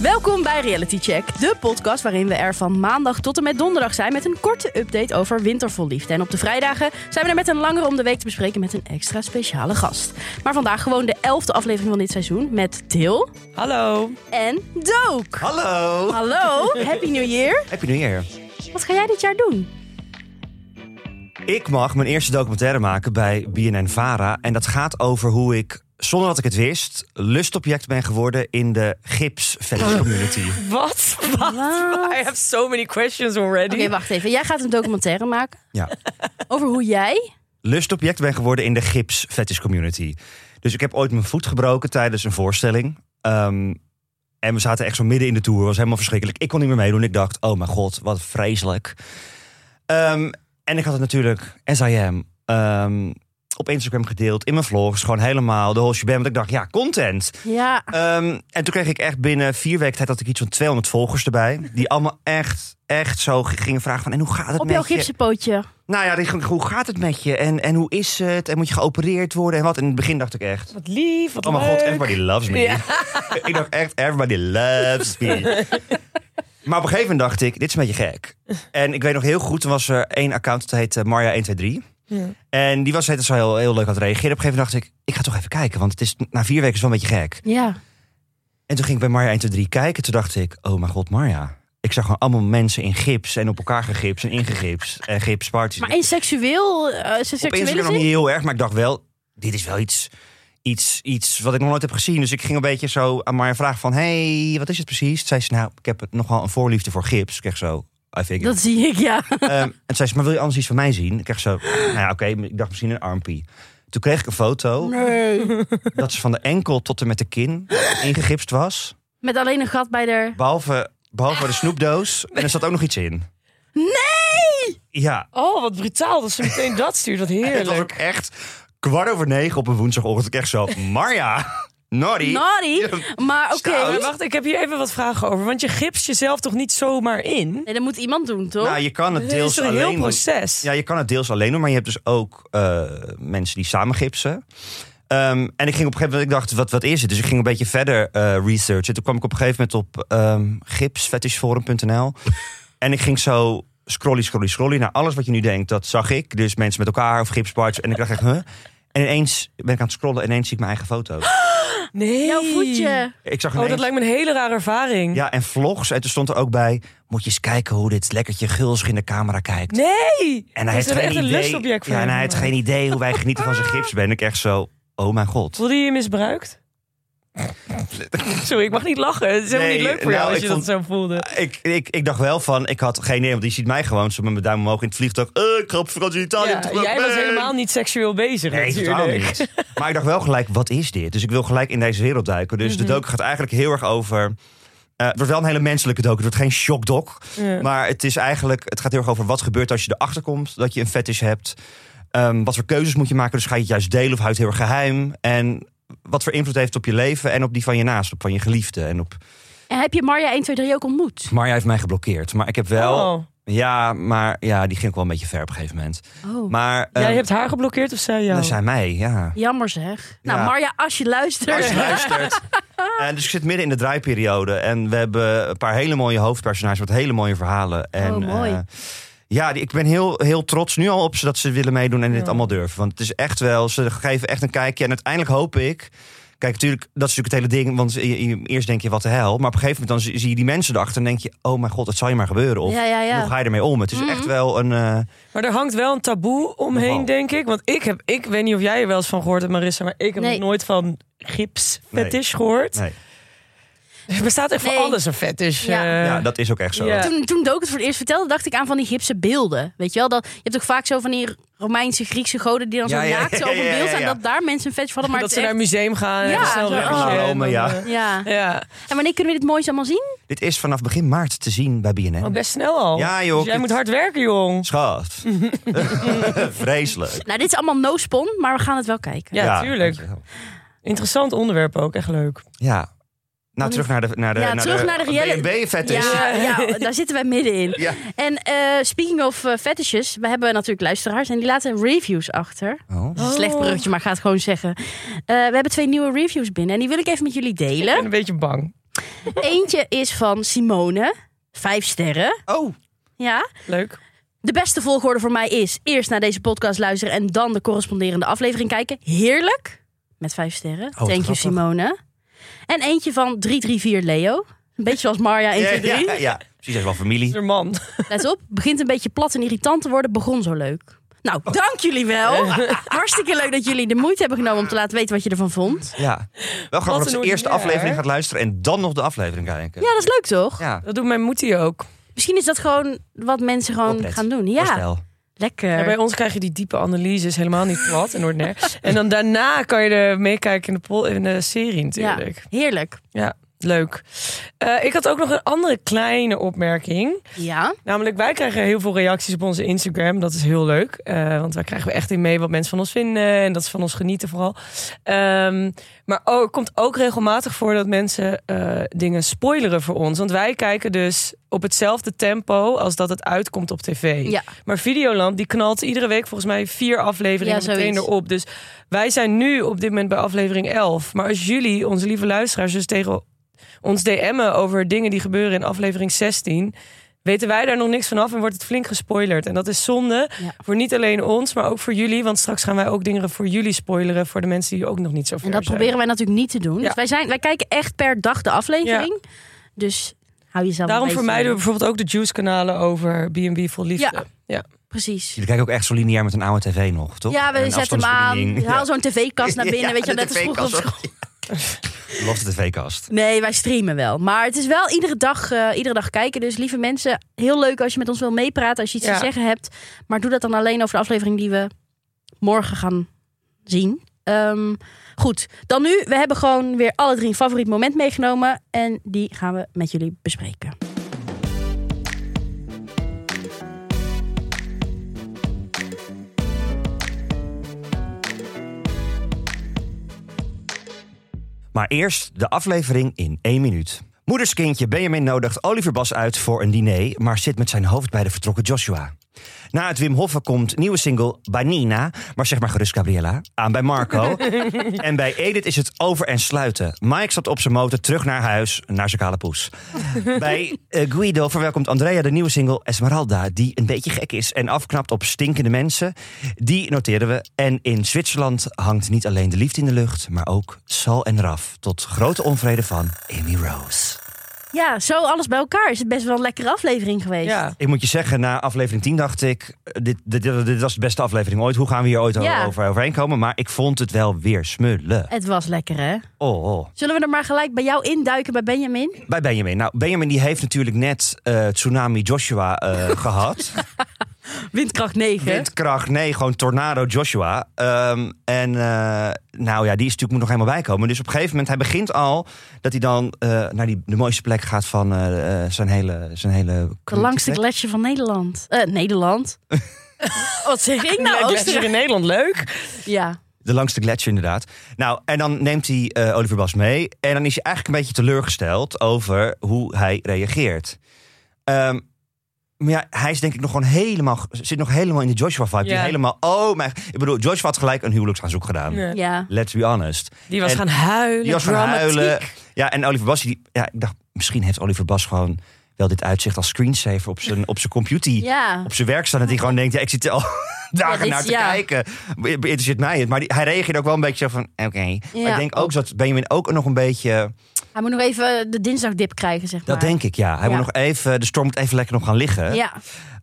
Welkom bij Reality Check, de podcast waarin we er van maandag tot en met donderdag zijn met een korte update over wintervol liefde. En op de vrijdagen zijn we er met een langere om de week te bespreken met een extra speciale gast. Maar vandaag gewoon de elfde aflevering van dit seizoen met Til Hallo. en Dook. Hallo! Hallo, happy new year. Happy New Year. Wat ga jij dit jaar doen? Ik mag mijn eerste documentaire maken bij BNN Vara. En dat gaat over hoe ik, zonder dat ik het wist, lustobject ben geworden in de gips community. Wat? Wat? Wat? I have so many questions already. Oké, wacht even. Jij gaat een documentaire maken Ja. over hoe jij... Lustobject ben geworden in de gips community. Dus ik heb ooit mijn voet gebroken tijdens een voorstelling. Ehm, en we zaten echt zo midden in de tour. was helemaal verschrikkelijk. Ik kon niet meer meedoen. Ik dacht, oh mijn god, wat vreselijk. Ehm, en ik had het natuurlijk, as I am, ehm, op Instagram gedeeld. In mijn vlogs. Gewoon helemaal de whole shebang. Want ik dacht, ja, content. Ja, Ehm, en toen kreeg ik echt binnen vier weken tijd dat ik iets van 200 volgers erbij. Die allemaal echt, echt zo g- gingen vragen van... En hoe gaat het op met jouw je? gipsenpootje. Nou ja, die gingen, hoe gaat het met je? En, en hoe is het? En moet je geopereerd worden? En wat? In het begin dacht ik echt... Wat lief, wat Oh mijn god, leuk. everybody loves me. Ja. ik dacht echt, everybody loves me. Maar op een gegeven moment dacht ik, dit is een beetje gek. En ik weet nog heel goed, toen was er één account, dat heette Marja123. Ja. En die was het zo heel, heel leuk aan het reageren. Op een gegeven moment dacht ik, ik ga toch even kijken. Want het is, na vier weken is het wel een beetje gek. Ja. En toen ging ik bij Marja 1, 2, 3 kijken. Toen dacht ik, oh mijn god, Marja. Ik zag gewoon allemaal mensen in gips en op elkaar gegips en ingegips. En gipsparties. Maar in seksueel... eh, op seksuele Instagram nog zin? niet heel erg, maar ik dacht wel... Dit is wel iets, iets, iets wat ik nog nooit heb gezien. Dus ik ging een beetje zo aan Marja vragen van... hey, wat is het precies? Toen zei ze, nou, ik heb het nogal een voorliefde voor gips. Ik kreeg zo... I figure. Dat zie ik, ja. Ehm, en toen zei ze, maar wil je anders iets van mij zien? Ik kreeg zo, nou ja, oké, ik dacht misschien een armpie. Toen kreeg ik een foto Nee. dat ze van de enkel tot en met de kin ingegipst was. Met alleen een gat bij de... Behalve, behalve de snoepdoos. En er zat ook nog iets in. Nee! Ja. Oh, wat brutaal dat ze meteen dat stuurt. Wat Het was ook heerlijk. echt kwart over negen op een woensdagochtend. Ik Echt zo, Marja, Nori. Naughty. Maar oké. Stout. Maar wacht, ik heb hier even wat vragen over. Want je gips jezelf toch niet zomaar in? Nee, dat moet iemand doen, toch? Nou, je kan het Het is deels toch een heel alleen doen. proces? Ja, je kan het deels alleen doen, maar je hebt dus ook eh, mensen die samen gipsen. Ehm, en ik ging op een gegeven moment, ik dacht, wat, wat is het? Dus ik ging een beetje verder eh, researchen. Toen kwam ik op een gegeven moment op ehm gipsfetishforum.nl. en ik ging zo scrolly, scrolly, scrolly naar alles wat je nu denkt. Dat zag ik. Dus mensen met elkaar of gipsparts. En ik dacht echt, huh? En ineens ben ik aan het scrollen en ineens zie ik mijn eigen foto. Nee. Jouw voetje. Ik zag Oh, ineens... dat lijkt me een hele rare ervaring. ja, en vlogs. En toen stond er ook bij, moet je eens kijken hoe dit lekkertje gulzig in de camera kijkt. Nee. En hij is heeft er geen echt een idee. lustobject voor ja, hem. en eh. hij heeft geen idee hoe wij genieten van zijn gips. Ben ik echt zo. Oh mijn god. Voelde je je misbruikt? Sorry, ik mag niet lachen. Het is helemaal Nee, niet leuk voor nou, jou als ik je vond- dat zo voelde. Ik, ik, ik dacht wel van, ik had geen idee, want die ziet mij gewoon zo met mijn duim omhoog in het vliegtuig. Eh, ik ga op vakantie in Italië. Ja, terug, jij was eh. helemaal niet seksueel bezig Nee, natuurlijk. totaal niet. Maar ik dacht wel gelijk, wat is dit? Dus ik wil gelijk in deze wereld duiken. Dus Mhm. de docu gaat eigenlijk heel erg over... eh, het wordt wel een hele menselijke docu. Het wordt geen shockdoc. Ja. Maar het is eigenlijk, het gaat heel erg over wat gebeurt als je erachter komt dat je een fetish hebt. Ehm, wat voor keuzes moet je maken? Dus ga je het juist delen of houd je het heel erg geheim? En wat voor invloed heeft het op je leven en op die van je naast, op van je geliefde? En op En heb je Marja 1, 2, 3 ook ontmoet? Marja heeft mij geblokkeerd, maar ik heb wel. Oh. Ja, maar ja, die ging ook wel een beetje ver op een gegeven moment. Oh. Maar ehm, Jij hebt haar geblokkeerd of zij jou? dat zijn mij, ja. Jammer zeg. Ja. Nou, Marja, als je luistert. Als je luistert. Eh, dus ik zit midden in de draaiperiode. En we hebben een paar hele mooie hoofdpersonages met hele mooie verhalen. En, Oh, mooi. eh, ja, die- ik ben heel, heel trots nu al op ze dat ze willen meedoen en dit Ja. allemaal durven. Want het is echt wel, ze geven echt een kijkje. En uiteindelijk hoop ik. Kijk, natuurlijk, dat is natuurlijk het hele ding. Want je- je- eerst denk je, wat de hel. Maar op een gegeven moment dan zie, zie je die mensen erachter. En denk je, oh mijn god, het zal je maar gebeuren. Of Ja, ja, ja. Mhm. hoe ga je ermee om? Het is echt wel een... eh, Maar er hangt wel een taboe omheen, Nogal. denk ik. Want ik heb, ik weet niet of jij er wel eens van gehoord hebt, Marissa, maar ik heb Nee. nog nooit van gips fetish gehoord. nee. Er bestaat echt Nee. voor alles een fetish. Ja. eh. ja, dat is ook echt zo. ja. Toen, toen Dook het voor het eerst vertelde, dacht ik aan van die gipse beelden. Weet je wel, dat, je hebt ook vaak zo van die Romeinse, Griekse goden die dan Ja, zo ja, naakt zo op ja, een ja, ja, beeld zijn. ja. Dat daar mensen een fetish van hadden. Maar dat het ze is naar een museum gaan en Ja, even snel zo, een oh. rondje en Rome, dan, ja. eh, echt- Ja. ja. En wanneer kunnen we dit moois allemaal zien? Dit is vanaf begin maart te zien bij BNN. Oh, best snel al. Ja, joh, Dus jij dit- moet hard werken, jong. Schat. Vreselijk. Nou, dit is allemaal no-spon, maar we gaan het wel kijken. Ja, tuurlijk. dankjewel. Interessant onderwerp ook, echt leuk. Ja. Nou, terug naar de, naar de, Ja, terug naar de reële- B&B fetish. Ja, ja, daar zitten wij middenin. Ja. En eh, speaking of eh, fetishes, we hebben natuurlijk luisteraars en die laten reviews achter. Oh. Dat is een Slecht Oh. bruggetje, maar ik ga het gewoon zeggen. Eh, we hebben twee nieuwe reviews binnen en die wil ik even met jullie Ik delen. ben een beetje bang. Eentje is van Simone, vijf sterren. Oh, Ja. Leuk. De beste volgorde voor mij is eerst naar deze podcast luisteren en dan de corresponderende aflevering kijken. Heerlijk. Met vijf sterren. Thank you, Oh, grappig. Simone. En eentje van 334 Leo. Een beetje zoals Marja 123. ja, ja, ja. Precies, hij is wel familie. Een man. Let op, begint een beetje plat en irritant te worden, begon zo leuk. Nou, Oh. dank jullie wel. Hartstikke leuk dat jullie de moeite hebben genomen om te laten weten wat je ervan vond. Ja. Wel een grappig dat ze eerst de ordinair. aflevering gaat luisteren en dan nog de aflevering kijken. Ja, dat is leuk toch? Ja, Dat doet mijn moeder ook. Misschien is dat gewoon wat mensen gewoon Oplet. gaan doen. Ja, voorstel. lekker. Ja, bij ons krijg je die diepe analyses helemaal niet plat en ordinair. en dan daarna kan je er meekijken in de, pol- in de serie Ja, natuurlijk. heerlijk. Ja, leuk. Eh, ik had ook nog een andere kleine opmerking. Ja, Namelijk, wij krijgen heel veel reacties op onze Instagram. Dat is heel leuk. eh, want wij krijgen echt in mee wat mensen van ons vinden. En dat ze van ons genieten vooral. Ehm, maar ook, het komt ook regelmatig voor dat mensen eh, dingen spoileren voor ons. Want wij kijken dus op hetzelfde tempo als dat het uitkomt op tv. ja. Maar Videoland die knalt iedere week volgens mij vier afleveringen Ja, meteen zoiets. erop. Dus wij zijn nu op dit moment bij aflevering 11. Maar als jullie, onze lieve luisteraars, dus tegen ons DM'en over dingen die gebeuren in aflevering 16, weten wij daar nog niks vanaf en wordt het flink gespoilerd. En dat is zonde Ja. voor niet alleen ons, maar ook voor jullie. Want straks gaan wij ook dingen voor jullie spoileren voor de mensen die ook nog niet zo ver En dat zijn. proberen wij natuurlijk niet te doen. Ja. Dus wij, zijn, wij kijken echt per dag de aflevering. Dus hou jezelf Daarom een beetje... vermijden we bijvoorbeeld ook de Juice-kanalen over B&B Vol Liefde. Ja. Precies. Jullie kijken ook echt zo lineair met een oude tv nog, toch? Ja, we En een zetten hem aan. afstandsbediening. Haal zo'n tv-kast naar binnen. Ja, weet je, de net als vroeger op tv-kast, school. hoor. Los de tv-kast. Nee, wij streamen wel. Maar het is wel iedere dag, eh, iedere dag kijken. Dus lieve mensen, heel leuk als je met ons wil meepraten. Als je iets Ja. te zeggen hebt. Maar doe dat dan alleen over de aflevering die we morgen gaan zien. Ehm, goed, dan nu. We hebben gewoon weer alle drie een favoriet moment meegenomen. En die gaan we met jullie bespreken. Maar eerst de aflevering in één minuut. Moederskindje Benjamin nodigt Oliver Bas uit voor een diner, maar zit met zijn hoofd bij de vertrokken Joshua. Na het Wim Hoffen komt nieuwe single Banina, maar zeg maar gerust Gabriella, aan bij Marco. en bij Edith is het over en sluiten. Mike stapt op zijn motor terug naar huis, naar zijn kale poes. bij eh, Guido verwelkomt Andrea de nieuwe single Esmeralda, die een beetje gek is en afknapt op stinkende mensen. Die noteren we. En in Zwitserland hangt niet alleen de liefde in de lucht, maar ook Sal en Raf. Tot grote onvrede van Amy Rose. Ja, zo alles bij elkaar is het best wel een lekkere aflevering geweest. Ja. Ik moet je zeggen, na aflevering 10 dacht ik, eh, dit, dit, dit, dit was de beste aflevering ooit. Hoe gaan we hier ooit Ja. over, overheen komen? Maar ik vond het wel weer smullen. Het was lekker, hè? Oh, oh. Zullen we er maar gelijk bij jou induiken, bij Benjamin? Bij Benjamin. Nou, Benjamin die heeft natuurlijk net eh, Tsunami Joshua eh, gehad. Windkracht 9. Windkracht, nee, gewoon Tornado Joshua. Ehm, en eh, nou ja, die is natuurlijk moet nog helemaal bijkomen. Dus op een gegeven moment, hij begint al dat hij dan eh, naar die, de mooiste plek gaat van eh, eh, zijn hele... Zijn hele De langste plek. gletsjer van Nederland. Eh, Nederland. Wat zeg ik nou? Nou, dat is Oostenrijk? hier in Nederland leuk. Ja. De langste gletsjer inderdaad. Nou, en dan neemt hij eh, Oliver Bas mee. En dan is hij eigenlijk een beetje teleurgesteld over hoe hij reageert. Ehm, maar ja, hij is denk ik nog gewoon helemaal, zit nog helemaal in de Joshua-vibe. Die Ja. Helemaal, oh mijn... Ik bedoel, Joshua had gelijk een huwelijksaanzoek gedaan. Ja. ja. Let's be honest. Die was En- gaan huilen. Die was gaan dramatiek. huilen. Ja, en Oliver Bas, die, ja, ik dacht, misschien heeft Oliver Bas gewoon wel dit uitzicht als screensaver op zijn, op zijn computer. Ja. Op zijn werk staan. Dat hij gewoon denkt, ja, ik zit er al dagen dit- naar te ja. kijken. Be- Interesseert mij het. Maar die- hij reageerde ook wel een beetje zo van, oké. Maar ik denk ook dat Benjamin ook nog een beetje... Hij moet nog even de dinsdagdip krijgen, zeg maar. Dat denk ik, ja. Hij Ja. moet nog even, de storm moet even lekker nog gaan liggen. Ja.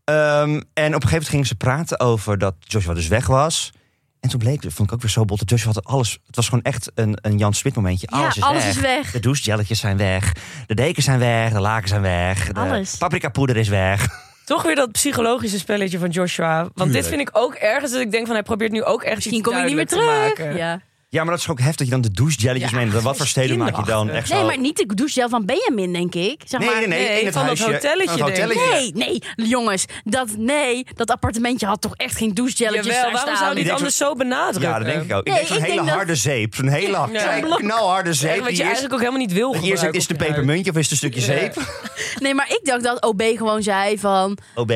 Ehm, en op een gegeven moment gingen ze praten over dat Joshua dus weg was. En toen bleek, dat vond ik ook weer zo bot, dat Joshua had alles... Het was gewoon echt een, een Jan Smit momentje. Ja, Alles is alles weg. is weg. De douchegelletjes zijn weg. De dekens zijn weg. De lakens zijn weg. De Alles. paprika poeder is weg. Toch weer dat psychologische spelletje van Joshua. Want dit Tuurlijk. vind ik ook ergens dat ik denk van hij probeert nu ook echt Misschien iets kom je niet meer duidelijk te terug. maken. Ja. Ja, maar dat is ook heftig dat je dan de douchegelletjes Ja, meeneemt. dat is Wat voor steden maak je dan? Echt Nee, zo... maar niet de douchegel van Benjamin, denk ik. Zeg Nee, maar, nee, nee. Nee, in het van dat huisje. hotelletje, Van het denk ik. hotelletje. Nee, nee, jongens, dat, nee, dat appartementje had toch echt geen douchegelletjes Jawel, daar waarom staan? zou die Ik het denk anders zo benadrukken? Ja, dat denk ik ook. Ik Nee, denk ik zo'n hele denk dat- harde zeep. Zo'n hele Ja. kleine, knalharde zeep. Wat je die eerst- eigenlijk ook helemaal niet wil dat je eerst denkt, is het een gebruiken op pepermuntje of is het een stukje Ja. zeep? Nee, maar ik dacht dat OB gewoon zei van... OB.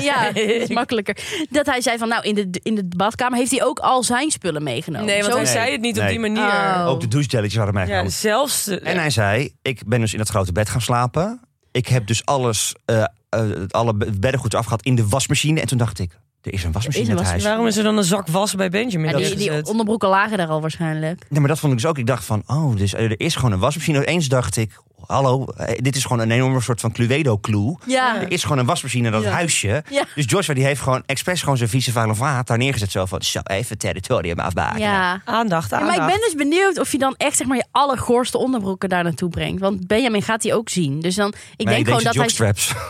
Ja, dat is makkelijker. Dat hij zei van, nou, in de, in de badkamer heeft hij ook al zijn spullen meegenomen. je huid. Nee, want Zo hij is- Nee. zei het niet op die Nee. manier. Oh. Ook de douchegelletjes hadden mij Ja, genomen. zelfs... de- En hij zei, ik ben dus in dat grote bed gaan slapen. Ik heb dus alles, eh, eh, alle be- beddengoed afgehad in de wasmachine. En toen dacht ik, er is een wasmachine Er is in een het huis. Waarom is er dan een zak was bij Benjamin? Ja, Dat die, is die het. onderbroeken lagen daar al waarschijnlijk. Nee, maar dat vond ik dus ook. Ik dacht van, oh, dus, eh, er is gewoon een wasmachine. Eens dacht ik, hallo, eh, dit is gewoon een enorme soort van Cluedo-clue. Ja. Er is gewoon een wasmachine in dat Ja. huisje. Ja. Dus Joshua die heeft gewoon expres gewoon zijn vieze vuile vaat daar neergezet. Zo van, zo, even territorium afbaken. Ja. Aandacht, Ja, aandacht. maar ik ben dus benieuwd of je dan echt zeg maar, je allergoorste onderbroeken daar naartoe brengt. Want Benjamin gaat die ook zien. Dus dan, ik Nee, denk gewoon dat deze hij... jockstraps.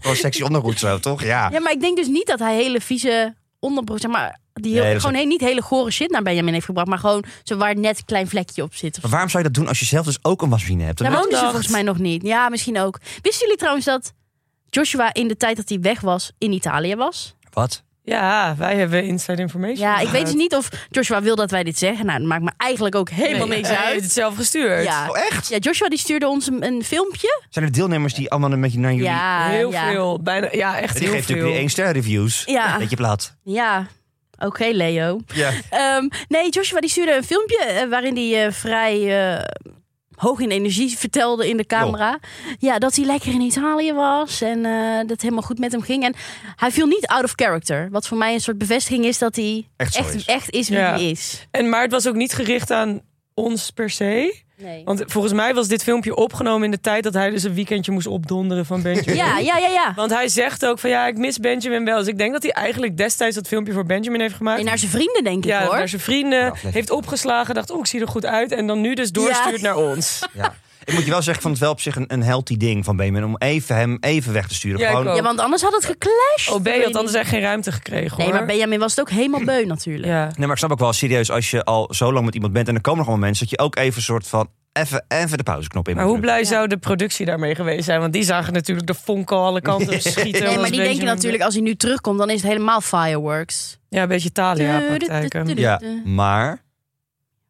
Gewoon sexy ondergoed zo, toch? Ja. Ja, maar ik denk dus niet dat hij hele vieze onderbroek, zeg maar, die heel- Nee, dat is- gewoon he- niet hele gore shit naar Benjamin heeft gebracht, maar gewoon zo waar net een klein vlekje op zit. Of... Maar waarom zou je dat doen als je zelf dus ook een wasmachine hebt? Dan Daar woonden ze Aandacht. volgens mij nog niet. Ja, misschien ook. Wisten jullie trouwens dat Joshua in de tijd dat hij weg was in Italië was? Wat? Ja, wij hebben inside information. Ja, ik weet dus het niet of Joshua wil dat wij dit zeggen. Nou, dat maakt me eigenlijk ook helemaal niks Hij heeft uit. het zelf gestuurd. Ja. Oh, echt? ja, Joshua die stuurde ons een, een filmpje. Zijn er deelnemers die allemaal een beetje naar jullie... Ja, Heel ja. veel. Bijna, ja, echt Die heel geeft veel. natuurlijk die 1 ster reviews. Ja. Beetje plat. Ja, oké Leo. Ja. Ehm, nee, Joshua die stuurde een filmpje eh, waarin hij eh, vrij eh, hoog in energie vertelde in de camera. Ja, dat hij lekker in Italië was en eh, dat het helemaal goed met hem ging. En hij viel niet out of character. Wat voor mij een soort bevestiging is dat hij Echt zo echt is. is, is wie Ja. hij is. En, maar het was ook niet gericht aan ons per se. Nee. Want volgens mij was dit filmpje opgenomen in de tijd dat hij dus een weekendje moest opdonderen van Benjamin. Ja, ja, ja, ja. Want hij zegt ook van ja, ik mis Benjamin wel. Dus ik denk dat hij eigenlijk destijds dat filmpje voor Benjamin heeft gemaakt. En naar zijn vrienden denk ik ja, hoor. naar zijn vrienden. aflevering. Heeft opgeslagen, dacht oh, ik zie er goed uit. En dan nu dus doorstuurt Ja. naar ons. ja. Ik moet je wel zeggen, ik vond het wel op zich een, een healthy ding van Benjamin... om even hem even weg te sturen. Ja, ik Gewoon, ook. Ja, want anders had het geclashed. OB Dat weet had ik anders niet. echt geen ruimte gekregen hoor. Nee, maar Benjamin was het ook helemaal beu natuurlijk. Ja. Nee, maar ik snap ook wel serieus als je al zo lang met iemand bent... en er komen nog allemaal mensen, dat je ook even een soort van... even, even de pauzeknop in Maar moet hoe drukken. blij zou de productie daarmee geweest zijn? Want die zagen natuurlijk de vonken alle kanten op schieten. Nee, maar omdat die denken Benjamin- natuurlijk als hij nu terugkomt, dan is het helemaal fireworks. Ja, een beetje Thalia-praktijken. Ja, maar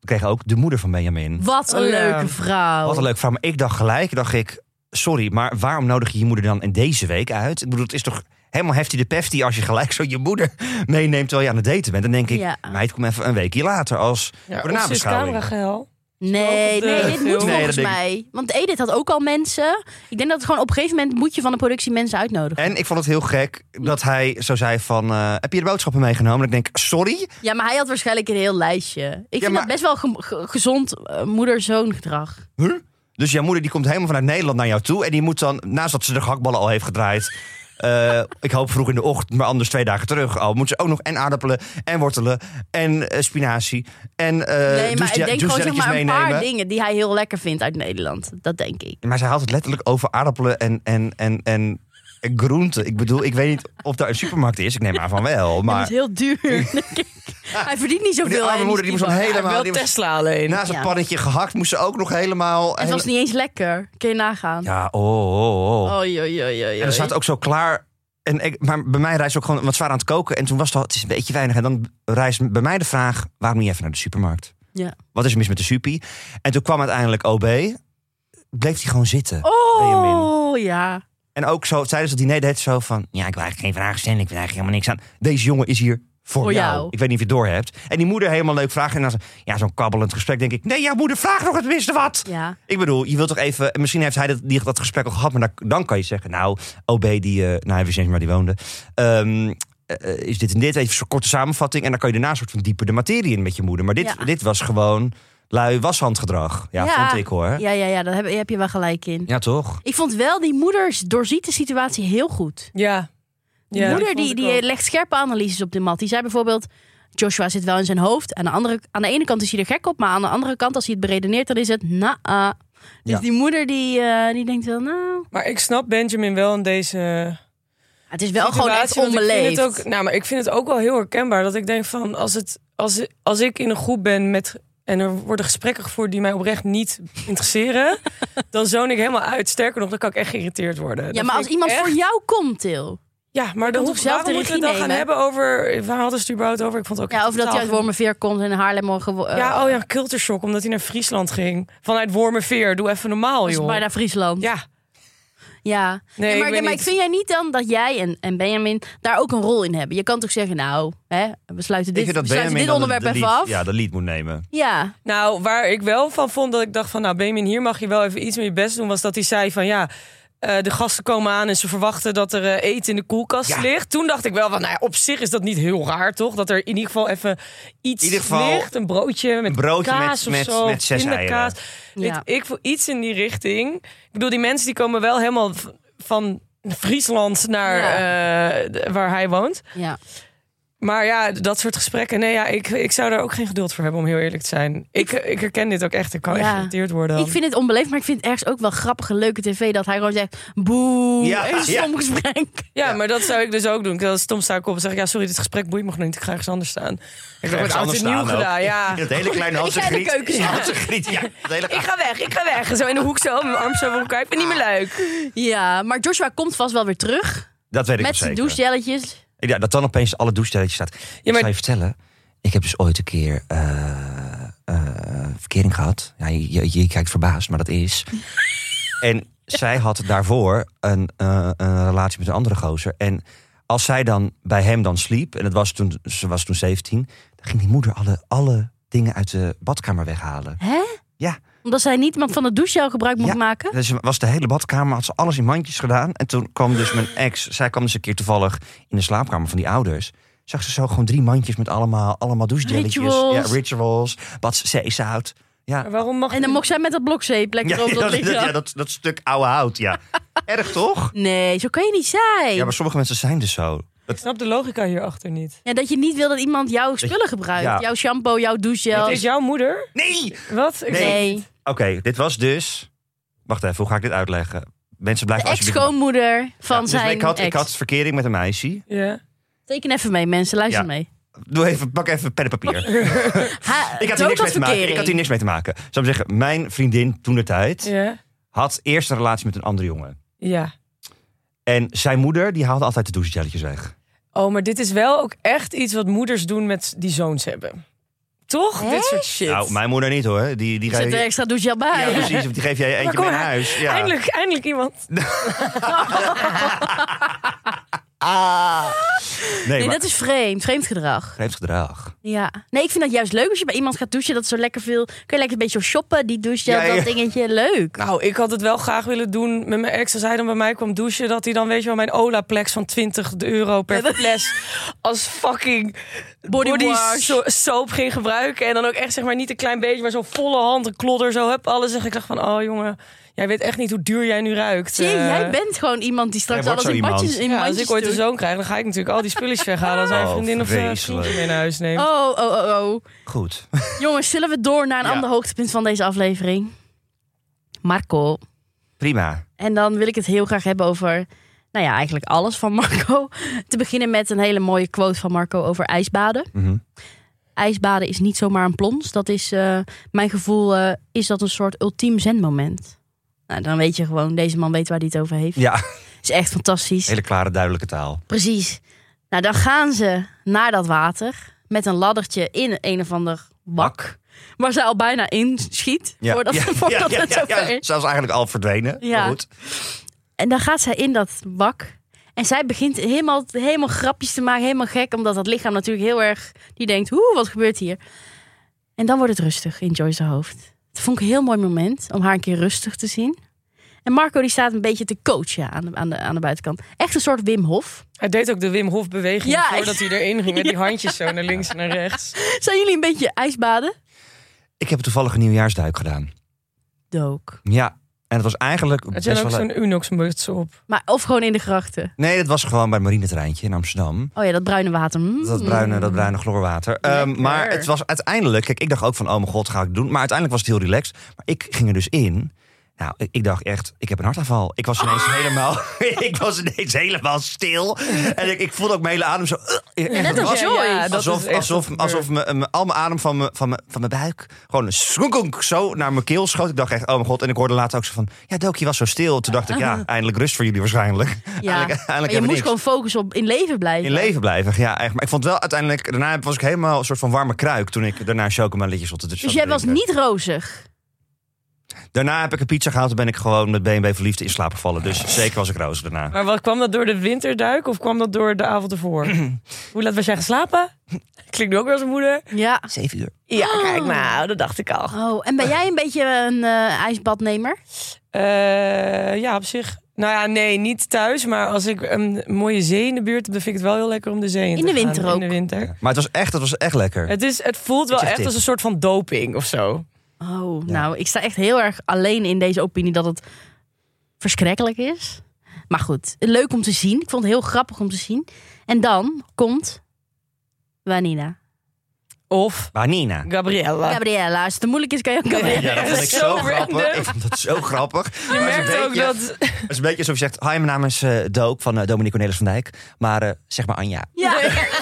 we kregen ook de moeder van Benjamin. Wat een Oh, ja. leuke vrouw. Wat een leuk vraag. Maar ik dacht gelijk, dacht ik... Sorry, maar waarom nodig je je moeder dan in deze week uit? Ik bedoel, het is toch helemaal hefty de pefty als je gelijk zo je moeder meeneemt terwijl je aan het daten bent. Dan denk ik, Ja. Ah. meid, kom even een weekje later als Ja, voor de ons is nabeschouwing. Nou, camerageil. Nee, Ook de nee, dit film. moet Nee, volgens dat denk ik. mij. Want Edith had ook al mensen. Ik denk dat het gewoon op een gegeven moment moet je van de productie mensen uitnodigen. En ik vond het heel gek dat hij zo zei van... eh, heb je de boodschappen meegenomen? En ik denk, sorry? Ja, maar hij had waarschijnlijk een heel lijstje. Ik vind Eh. maar- dat best wel ge- ge- gezond eh, moeder-zoon gedrag. Huh? Dus jouw moeder die komt helemaal vanuit Nederland naar jou toe... en die moet dan, naast dat ze de gehaktballen al heeft gedraaid... eh, ik hoop vroeg in de ochtend, maar anders twee dagen terug al... moet ze ook nog en aardappelen en wortelen en eh, spinazie... en eh nee, maar ik douchegel- denk gewoon zeg douchegelletjes maar een paar meenemen. dingen die hij heel lekker vindt uit Nederland. Dat denk ik. Maar zij haalt het letterlijk over aardappelen en, en, en, en, en groenten. Ik bedoel, ik weet niet of daar een supermarkt is. Ik neem aan van wel. Maar... Maar is heel duur. denk ik. Hij verdient niet die zoveel. hè, arme moeder die moest dan Stefan. helemaal... Wel die was- Nou. Tesla alleen. naast het Ja. pannetje gehakt moest ze ook nog helemaal... Het was niet eens lekker. Kun je nagaan. Ja, oh, oh, oh. Oei, oei, oei, oei, En er oei. staat ook zo klaar... En ik, maar bij mij rijst ook gewoon wat zwaar aan het koken. En toen was dat, het is een beetje weinig. En dan rijst bij mij de vraag, waarom niet even naar de supermarkt? Ja. Wat is er mis met de supie? En toen kwam uiteindelijk OB. Bleef hij gewoon zitten. Oh, ja. En ook zo tijdens het diner deed hij zo van... Ja, ik wil eigenlijk geen vragen stellen. Ik wil eigenlijk helemaal niks aan. Deze jongen is hier voor, Voor jou. jou. Ik weet niet of je het door hebt. En die moeder helemaal leuk vragen. En dan zo- ja, zo'n kabbelend gesprek denk ik... Nee, ja, moeder, vraag nog het minste wat. Ja. Ik bedoel, je wilt toch even... en Misschien heeft hij dat, die, dat gesprek al gehad. Maar dan, dan kan je zeggen... Nou, OB, die... eh, nou, hij wist niet eens waar die woonde. Ehm, eh, eh, is dit en dit? Even zo'n korte samenvatting. En dan kan je daarna een soort van dieper de materie in met je moeder. Maar dit, Ja. dit was gewoon lui washandgedrag. Ja, Ja. vond ik hoor. Ja, ja, ja, daar heb, heb je wel gelijk in. Ja, toch? Ik vond wel, die moeder doorziet de situatie heel goed. Ja. Die Ja, moeder dat die, vond ik ook. die legt scherpe analyses op de mat. Die zei bijvoorbeeld, Joshua zit wel in zijn hoofd. Aan de, andere, aan de ene kant is hij er gek op, maar aan de andere kant als hij het beredeneert, dan is het na Dus Ja. die moeder die, eh, die denkt wel, nou... Maar ik snap Benjamin wel in deze Het is wel gewoon echt situatie, want ik vind onbeleefd. het ook, nou, maar ik vind het ook wel heel herkenbaar dat ik denk van als het als, als ik in een groep ben met. En er worden gesprekken gevoerd die mij oprecht niet interesseren. dan zoon ik helemaal uit. Sterker nog, dan kan ik echt geïrriteerd worden. Ja, Dan maar vind als ik iemand echt- voor jou komt, Til. Ja, maar kan dan toch hoef zelf zelf de moeten we het regie dan gaan nemen? hebben over. Waar hadden ze het überhaupt over? Ik vond het ook. Ja, echt over dat hij uit totaal- Wormerveer komt en in Haarlem morgen... eh, Ja, oh ja, cultureshock, omdat hij naar Friesland ging. Vanuit Wormerveer. Doe even normaal, was joh. bijna Friesland. Ja. Ja, Nee, ik maar, weet maar niet. vind jij niet dan dat jij en, en Benjamin daar ook een rol in hebben? Je kan toch zeggen, nou, hè, we sluiten dit, ik vind we dat sluiten Benjamin dit dan de- onderwerp de even lead- af. Ja. Ja, de lead moet nemen. nou, waar ik wel van vond dat ik dacht van... Nou, Benjamin, hier mag je wel even iets meer je best doen. Was dat hij zei van, ja, eh, de gasten komen aan... en ze verwachten dat er eh, eten in de koelkast Ja. ligt. Toen dacht ik wel van, nou ja, op zich is dat niet heel raar, toch? Dat er in ieder geval even iets In ieder geval ligt. Een broodje met een broodje kaas met- of met- zo. met zes pindakaas. Weet Ja. ik voel iets in die richting. Ik bedoel, die mensen die komen wel helemaal v- van... Friesland naar eh, d- waar hij woont. ja. Maar ja, dat soort gesprekken. Nee, ja, ik, ik zou daar ook geen geduld voor hebben, om heel eerlijk te zijn. Ik, ik herken dit ook echt. Ik kan Ja. echt geïrriteerd worden. Ik vind het onbeleefd, maar ik vind het ergens ook wel grappige, leuke tv dat hij gewoon zegt, boe, Ja, even een stom ja. gesprek. ja, maar dat zou ik dus ook doen. Ik wil stom sta ik op en zeg ik, ja, sorry, dit gesprek boeit me nog niet. Ik ga ergens anders staan. Ik heb het Ergens oud anders en nieuw staan ook. gedaan, ja. In dat hele kleine Ik ga Hanse in de Griet. keuken staan. Hanse Griet, ja. Dat hele Ik ga weg, ik ga weg. Zo in de hoek zo, mijn arm zo over elkaar. Ik vind het niet meer leuk. Ja, maar Joshua komt vast wel weer terug Dat weet ik met wel zijn zeker. douchegelletjes. Ja, dat dan opeens alle douchestelletjes staat. maar- Ik zal je vertellen, ik heb dus ooit een keer eh, eh, verkering gehad. Ja, je, je, je kijkt verbaasd, maar dat is. en zij had daarvoor een, eh, een relatie met een andere gozer. En als zij dan bij hem dan sliep, en dat was toen, ze was toen 17... dan ging die moeder alle, alle dingen uit de badkamer weghalen. Hè? Ja. Omdat zij niet iemand van het douchegel gebruik mocht Ja. maken. Dus ze was de hele badkamer, had ze alles in mandjes gedaan. En toen kwam dus mijn ex, zij kwam dus een keer toevallig in de slaapkamer van die ouders. Zag ze zo gewoon drie mandjes met allemaal, allemaal douchegelletjes. Rituals. Ja, rituals. Wat zeezout. Ja. Maar waarom mag En dan ik- mocht zij met dat blokzeep lekker Ja, over dat dat, lichaam. ja, dat, dat stuk oude hout, ja. Erg toch? Nee, zo kan je niet zijn. Ja, maar sommige mensen zijn dus zo. Ik snap de logica hierachter niet. Ja, dat je niet wil dat iemand jouw spullen gebruikt. ja. Jouw shampoo, jouw douchegel. Het is jouw moeder? Nee! Wat? Ik- Nee. Nee, Oké, dit was dus... Wacht even, hoe ga ik dit uitleggen? Mensen de blijven alsjeblieft- ex-schoonmoeder van Ja, dus zijn ik had, ex. ik had verkering met een meisje. Ja. Teken even mee, mensen. Luister Ja. mee. Doe even, pak even pen en papier. Ha, Ik had, hier niks mee te maken. verkering. ik had hier niks mee te maken. Zou ik zeggen, mijn vriendin toen de tijd Ja. had eerst een relatie met een andere jongen. Ja. En zijn moeder, die haalde altijd de douchegelletjes weg. Oh, maar dit is wel ook echt iets wat moeders doen met die zoons hebben. Toch? Hè? Dit soort shit. Nou, mijn moeder niet hoor. Die, die Er zit geef- er extra douchegel bij. ja, precies. want Die geef jij eentje kom mee naar maar, huis. Ja. Eindelijk, eindelijk iemand. Ah. Nee, Nee, maar dat is vreemd. Vreemd gedrag. vreemd gedrag. Ja. Nee, ik vind dat juist leuk als je bij iemand gaat douchen. Dat is zo lekker veel... Kun je lekker een beetje shoppen. Die douchegel, Ja, ja. dat dingetje. Leuk. Nou, ik had het wel graag willen doen met mijn ex. Als hij dan bij mij kwam douchen, dat hij dan, weet je wel, mijn Olaplex van 20 euro per fles als fucking Body body, wash. so- soap ging gebruiken. En dan ook echt, zeg maar, niet een klein beetje, maar zo'n volle hand, een klodder, zo heb alles. En ik dacht van, oh jongen, jij weet echt niet hoe duur jij nu ruikt. Zie, Eh, jij bent gewoon iemand die straks Jij alles wordt in zo iemand. badjes in ja, als mandjes ik ooit een doet. zoon krijg, dan ga ik natuurlijk al die spulletjes weghalen als hij een Oh, vriendin of eh, vreselijk. vriendje mee naar huis neemt. Oh, oh, oh, oh. Goed. Jongens, zullen we door naar een Ja. ander hoogtepunt van deze aflevering? Marco. Prima. En dan wil ik het heel graag hebben over, nou ja, eigenlijk alles van Marco. Te beginnen met een hele mooie quote van Marco over ijsbaden. Mhm. Ijsbaden is niet zomaar een plons. Dat is, eh, mijn gevoel, eh, is dat een soort ultiem zenmoment. Nou, dan weet je gewoon, deze man weet waar hij het over heeft. Ja, Is echt fantastisch. hele klare, duidelijke taal. Precies. Nou, dan gaan ze naar dat water met een laddertje in een of ander bak. Waar ze al bijna in schiet. Ja. Voordat, ja, voordat ja, het ja, zover ja. is. Zelfs eigenlijk al verdwenen. Ja. Maar Goed. En dan gaat zij in dat bak. En zij begint helemaal, helemaal grapjes te maken. Helemaal gek. Omdat dat lichaam natuurlijk heel erg... Die denkt, hoe, wat gebeurt hier? En dan wordt het rustig in Joyce's hoofd. Het vond ik een heel mooi moment om haar een keer rustig te zien. En Marco die staat een beetje te coachen aan de, aan de, aan de buitenkant. Echt een soort Wim Hof. Hij deed ook de Wim Hof beweging Ja, voordat hij erin ging. Met die handjes zo naar links en naar rechts. Zijn jullie een beetje ijsbaden? Ik heb toevallig een nieuwjaarsduik gedaan. Dook. Ja. En het was eigenlijk Had best jij wel... ook een- zo'n Unox-muts op? Maar, of gewoon in de grachten. Nee, dat was gewoon bij het marinetreintje in Amsterdam. Oh ja, dat bruine water. Mm. Dat bruine, dat bruine chloorwater. Ehm, Lekker. maar het was uiteindelijk... Kijk, ik dacht ook van, oh mijn god, ga ik doen. Maar uiteindelijk was het heel relaxed. Maar ik ging er dus in. Nou, ik, ik dacht echt, ik heb een hartaanval. Ik was Ah. ineens helemaal, ik was ineens helemaal stil. En ik, ik voelde ook mijn hele adem zo. eh, echt Net een als ras. Ja, Joy. ja, dat is Alsof, echt alsof, wat alsof me, eh, me- al mijn adem van, me, van, me, van mijn buik gewoon een schonk zo naar mijn keel schoot. Ik dacht echt, oh mijn god. En ik hoorde later ook zo van, ja Doki je was zo stil. Toen dacht ik, Ah. ja, eindelijk rust voor jullie waarschijnlijk. Ja, Eindelijk, maar eindelijk je hebben we moest niks. gewoon focussen op in leven blijven. In leven blijven, ja echt. Maar ik vond wel uiteindelijk, daarna was ik helemaal een soort van warme kruik toen ik daarna chocomelletjes op de dus jij was niet rozig. Daarna heb ik een pizza gehaald en ben ik gewoon met BNB verliefd in slaap gevallen. Dus zeker was ik roos daarna. Maar wat, kwam dat door de winterduik of kwam dat door de avond ervoor? Hoe laat was jij geslapen? Klinkt nu ook weer als een moeder. Ja. Zeven uur. Ja, kijk nou, dat dacht ik al. Oh, en ben jij een beetje een eh, ijsbadnemer? Eh, ja, op zich. Nou ja, nee, niet thuis. Maar als ik een mooie zee in de buurt heb, dan vind ik het wel heel lekker om de zee In in, te de gaan. winter ook. In de winter. Maar het was echt, het was echt lekker. Het, is, het voelt wel zeg echt dit. als een soort van doping of zo. Oh, nou, ik sta echt heel erg alleen in deze opinie dat het verschrikkelijk is. Maar goed, leuk om te zien. Ik vond het heel grappig om te zien. En dan komt Vanina. Of Banina. Ah. Gabriella. Gabriella, als het te moeilijk is, kan je ook Gabriella. Ja, dat vond ik Zo zo random. grappig. Ik vond dat zo grappig. Je merkt ook dat... Het is een beetje alsof je zegt, hi, mijn naam is eh, Doop van eh, Dominique Cornelis van Dijk. Maar eh, zeg maar Anja. Ja.